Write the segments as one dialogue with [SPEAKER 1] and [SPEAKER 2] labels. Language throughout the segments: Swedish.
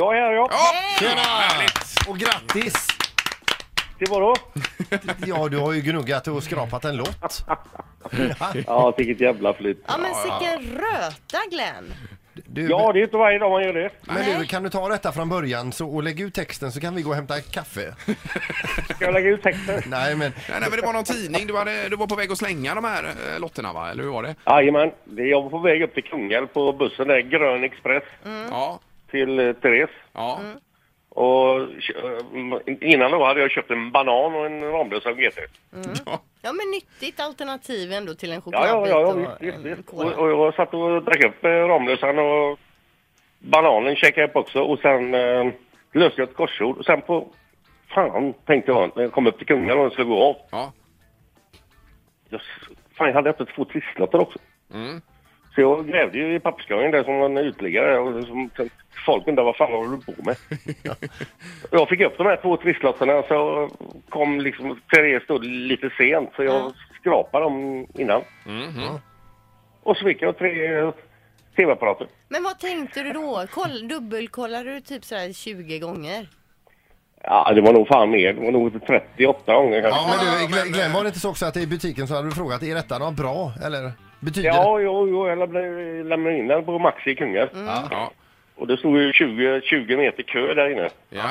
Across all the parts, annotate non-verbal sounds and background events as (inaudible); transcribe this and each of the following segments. [SPEAKER 1] Ja, ja, ja.
[SPEAKER 2] Ja,
[SPEAKER 3] Tjena!
[SPEAKER 2] härligt.
[SPEAKER 3] Och grattis!
[SPEAKER 1] Det var (laughs) då.
[SPEAKER 3] Ja, du har ju gnuggat och skrapat en lott.
[SPEAKER 1] Ja, vilket jävla flyt.
[SPEAKER 4] Ja, men sicken röta Glenn.
[SPEAKER 3] Du,
[SPEAKER 1] Ja, det är inte varje dag man gör det.
[SPEAKER 3] men du, kan du ta detta från början så, och lägga ut texten så kan vi gå och hämta kaffe?
[SPEAKER 1] Ska jag lägga ut texten?
[SPEAKER 3] Nej, men
[SPEAKER 2] Nej, nej, men det var någon tidning. Du, hade, du var på väg att slänga de här eh, lotterna, va? Eller hur var det?
[SPEAKER 1] Jajamän, Det är jag var på väg upp till Kungälv på bussen där, Grön Express,
[SPEAKER 4] Mm.
[SPEAKER 2] Ja.
[SPEAKER 1] till eh, Therese.
[SPEAKER 2] Ja.
[SPEAKER 1] Och kö- eh, innan då hade jag köpt en banan och en Ramlösa och GT.
[SPEAKER 4] mm.
[SPEAKER 2] (laughs) ja.
[SPEAKER 4] Ja, men nyttigt alternativ ändå till en
[SPEAKER 1] Ja, ja,
[SPEAKER 4] chokladbit
[SPEAKER 1] ja, ja
[SPEAKER 4] och
[SPEAKER 1] visst, visst,
[SPEAKER 4] en
[SPEAKER 1] visst.
[SPEAKER 4] cola.
[SPEAKER 1] Och, och jag satt och drack upp eh, Ramlösan och bananen käkade jag upp också och sen eh, löste jag ett korsord. Och sen på, fan tänkte jag när jag kom upp till Kungälv och skulle gå av.
[SPEAKER 2] ja.
[SPEAKER 1] Jag, s- fan, jag hade öppet två trisslotter också.
[SPEAKER 2] Mm.
[SPEAKER 1] Så jag grävde ju i papperskorgen där som en uteliggare och som, som folk undrade vad fan håller du på med? Och jag fick upp de här två trisslotterna så kom liksom, Therese stod lite sent så jag skrapade dem innan. Och så fick jag tre eh, tv-apparater.
[SPEAKER 4] Men vad tänkte du då? Koll, dubbelkollade du typ sådär 20 gånger?
[SPEAKER 1] Ja, det var nog fan mer. Det var nog 38 gånger kanske.
[SPEAKER 3] Ja, men du,
[SPEAKER 2] men,
[SPEAKER 3] Glenn, Glenn, var det inte så också att i butiken så hade du frågat är detta något bra eller betyder
[SPEAKER 1] Ja, jo, jo, jag lämnade, lämnade in den på Maxi i Kungälv.
[SPEAKER 2] Mm. Ja.
[SPEAKER 1] Och det stod ju 20, 20 meter kö där inne.
[SPEAKER 2] Ja.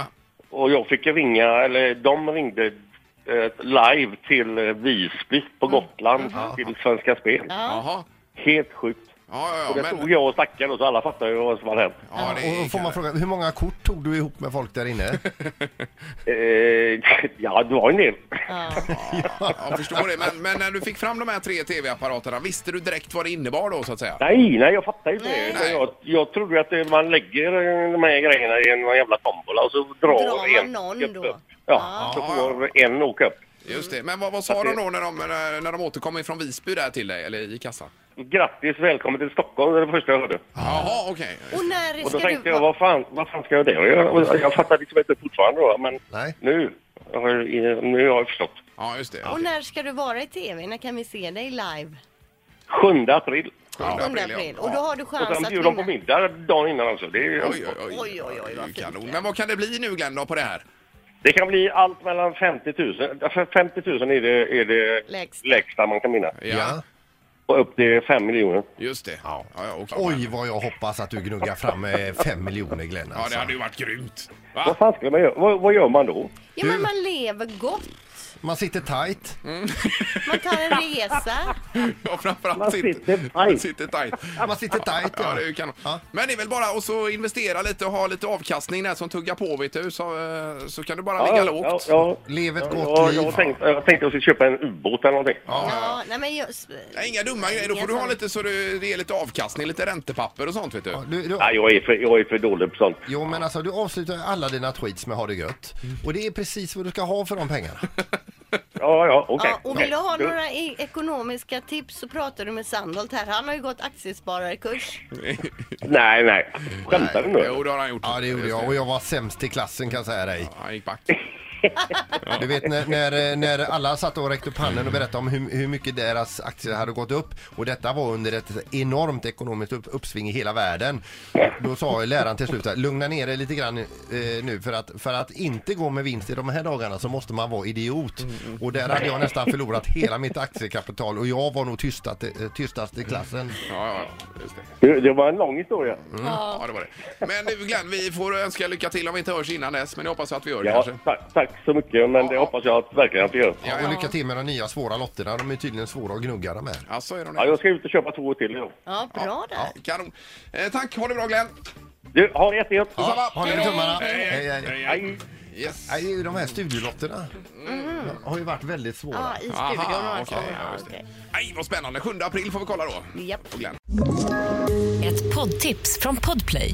[SPEAKER 1] Och jag fick ringa, eller de ringde eh, live till eh, Visby på
[SPEAKER 4] Mm.
[SPEAKER 1] Gotland till Svenska Spel.
[SPEAKER 2] Jaha.
[SPEAKER 1] Helt sjukt.
[SPEAKER 2] Ja, ja,
[SPEAKER 1] Och
[SPEAKER 2] ja,
[SPEAKER 1] där stod
[SPEAKER 2] men...
[SPEAKER 1] jag och snackade och så alla fattade ju vad som hade hänt.
[SPEAKER 2] Ja, det
[SPEAKER 3] Och får man fråga, hur många kort tog du ihop med folk där inne?
[SPEAKER 1] Eh, (laughs) ja, det var en del.
[SPEAKER 4] Ja.
[SPEAKER 2] (laughs) ja, jag förstår det. Men, men när du fick fram de här tre tv-apparaterna, visste du direkt vad det innebar då, så att säga?
[SPEAKER 1] Nej, nej, jag fattar ju inte det.
[SPEAKER 2] Nej.
[SPEAKER 1] Utan Jag, jag trodde ju att eh, man lägger eh, de här grejerna i en jävla tombola och så drar,
[SPEAKER 4] Drar man
[SPEAKER 1] en
[SPEAKER 4] någon
[SPEAKER 1] upp.
[SPEAKER 4] då?
[SPEAKER 1] Ja,
[SPEAKER 4] Ja.
[SPEAKER 1] så får en åka upp.
[SPEAKER 2] Just det. Men vad, vad sa de då när de, när, när de återkom från Visby där till dig, eller i kassan?
[SPEAKER 1] Grattis, välkommen till Stockholm, det var det första jag hörde.
[SPEAKER 2] Jaha, okej.
[SPEAKER 4] Och när
[SPEAKER 1] Och då
[SPEAKER 4] ska du...
[SPEAKER 1] tänkte jag, vad fan, vad fan ska jag det göra? Och Jag fattar liksom inte fortfarande då, men
[SPEAKER 3] Nej.
[SPEAKER 1] nu, har jag- nu har jag förstått.
[SPEAKER 2] Ja, just det.
[SPEAKER 4] Och när ska du vara i tv? När kan vi se dig live?
[SPEAKER 1] 7 april.
[SPEAKER 2] Ja,
[SPEAKER 4] 7
[SPEAKER 2] ja.
[SPEAKER 4] april. Och då har du
[SPEAKER 1] Och
[SPEAKER 4] chans
[SPEAKER 1] sen
[SPEAKER 4] att
[SPEAKER 1] bjuder de på
[SPEAKER 4] vinna.
[SPEAKER 1] middag dagen innan alltså. Det, är,
[SPEAKER 2] Oj, oj, oj.
[SPEAKER 4] Oj, oj, oj, vad
[SPEAKER 2] Det är ju
[SPEAKER 4] fint.
[SPEAKER 2] kanon. Men vad kan det bli nu, Glenn, då, på det här?
[SPEAKER 1] det kan bli allt mellan 50 000, ja, för 50 000 är det, är det
[SPEAKER 4] Lägst.
[SPEAKER 1] lägsta man kan vinna.
[SPEAKER 3] Ja.
[SPEAKER 1] Och upp till 5 miljoner.
[SPEAKER 2] Just det. Ja, ja, okej.
[SPEAKER 3] Oj, vad jag hoppas att du gnuggar fram eh, fem miljoner Glenn
[SPEAKER 2] Ja,
[SPEAKER 3] alltså.
[SPEAKER 2] det hade ju varit grymt.
[SPEAKER 1] Vad
[SPEAKER 4] Ah.
[SPEAKER 2] Va?
[SPEAKER 1] fan skulle man göra? Vad, vad gör man då?
[SPEAKER 4] Ja, men man lever gott.
[SPEAKER 3] Man sitter tight.
[SPEAKER 2] Mm.
[SPEAKER 4] Man tar en
[SPEAKER 2] (laughs)
[SPEAKER 4] resa.
[SPEAKER 2] (laughs) Ja, framförallt
[SPEAKER 1] Man
[SPEAKER 2] sitter-
[SPEAKER 1] sitter tajt.
[SPEAKER 2] Man sitter tajt.
[SPEAKER 3] Man sitter tight.
[SPEAKER 2] Ja, det är ju kanon.
[SPEAKER 3] Ja.
[SPEAKER 2] Men det är väl bara att så investera lite och ha lite avkastning där som tuggar på, vet du. Så, eh, så kan du bara ligga lågt.
[SPEAKER 1] ja, ja.
[SPEAKER 3] Lev ett gott
[SPEAKER 1] Ja,
[SPEAKER 3] liv.
[SPEAKER 1] jag, tänkte, jag tänkte att jag skulle köpa en ubåt eller någonting.
[SPEAKER 4] Ja, nej men just...
[SPEAKER 2] Nej, Inga dumma grejer. Då får du ha lite så du, det är lite avkastning, lite räntepapper och sånt, vet du.
[SPEAKER 3] Du, du,
[SPEAKER 1] Nej, jag är för, jag är för dålig på sånt.
[SPEAKER 3] jo, men alltså du avslutar alla dina tweets med ha det gött.
[SPEAKER 2] Mm.
[SPEAKER 3] Och det är precis vad du ska ha för de pengarna.
[SPEAKER 1] Ja, ja, okej.
[SPEAKER 4] Ja, och
[SPEAKER 1] okej.
[SPEAKER 4] vill du ha
[SPEAKER 1] Du-
[SPEAKER 4] några e- ekonomiska tips så pratar du med Sandholt här. Han har ju gått aktiespararkurs.
[SPEAKER 1] Nej, nej. Skämtar du nu?
[SPEAKER 2] (laughs) Jo, det har han gjort.
[SPEAKER 3] Ja, det gjorde jag. Och jag var sämst i klassen kan jag säga dig.
[SPEAKER 2] Han gick back.
[SPEAKER 3] Du vet när, när, när alla satt och räckte upp handen och berättade om hur, hur mycket deras aktier hade gått upp och detta var under ett enormt ekonomiskt upp, uppsving i hela världen. Då sa läraren till slut att lugna ner er lite grann eh, nu för att, för att inte gå med vinst i de här dagarna så måste man vara idiot. Och där hade jag nästan förlorat hela mitt aktiekapital och jag var nog tystat, eh, tystast i klassen.
[SPEAKER 2] Ja, ja, just det.
[SPEAKER 1] Du, det var en lång historia.
[SPEAKER 2] Ja, det var det. Men du, Glenn, vi får önska lycka till om vi inte hörs innan dess, men det hoppas jag att vi gör
[SPEAKER 1] Ja,
[SPEAKER 2] kanske.
[SPEAKER 1] tack, tack så mycket, men det hoppas jag att verkligen att jag gör.
[SPEAKER 3] Ja, och lycka till med de nya svåra lotterna, de är tydligen svåra att gnugga de här.
[SPEAKER 2] Alltså, är de
[SPEAKER 1] Ja,
[SPEAKER 2] det?
[SPEAKER 1] jag ska ut och köpa två till då.
[SPEAKER 4] Ja, bra där.
[SPEAKER 2] Kanon. Eh, tack, ha det bra Glenn.
[SPEAKER 1] Du, ha det jättegött!
[SPEAKER 2] Detsamma.
[SPEAKER 3] håller
[SPEAKER 2] Hej då.
[SPEAKER 3] tummarna.
[SPEAKER 2] Hej, hej.
[SPEAKER 3] Hej, hej.
[SPEAKER 2] Hej, hej. Yes.
[SPEAKER 3] Nej, det är ju de här studielotterna de har ju varit väldigt svåra.
[SPEAKER 4] Ja, i studion och
[SPEAKER 2] Aha,
[SPEAKER 4] allt
[SPEAKER 2] okej. ja, just
[SPEAKER 4] sånt.
[SPEAKER 2] det. Nej, vad spännande. 7 april får vi kolla då.
[SPEAKER 4] Japp.
[SPEAKER 2] Och Glenn.
[SPEAKER 5] Ett poddtips från Podplay.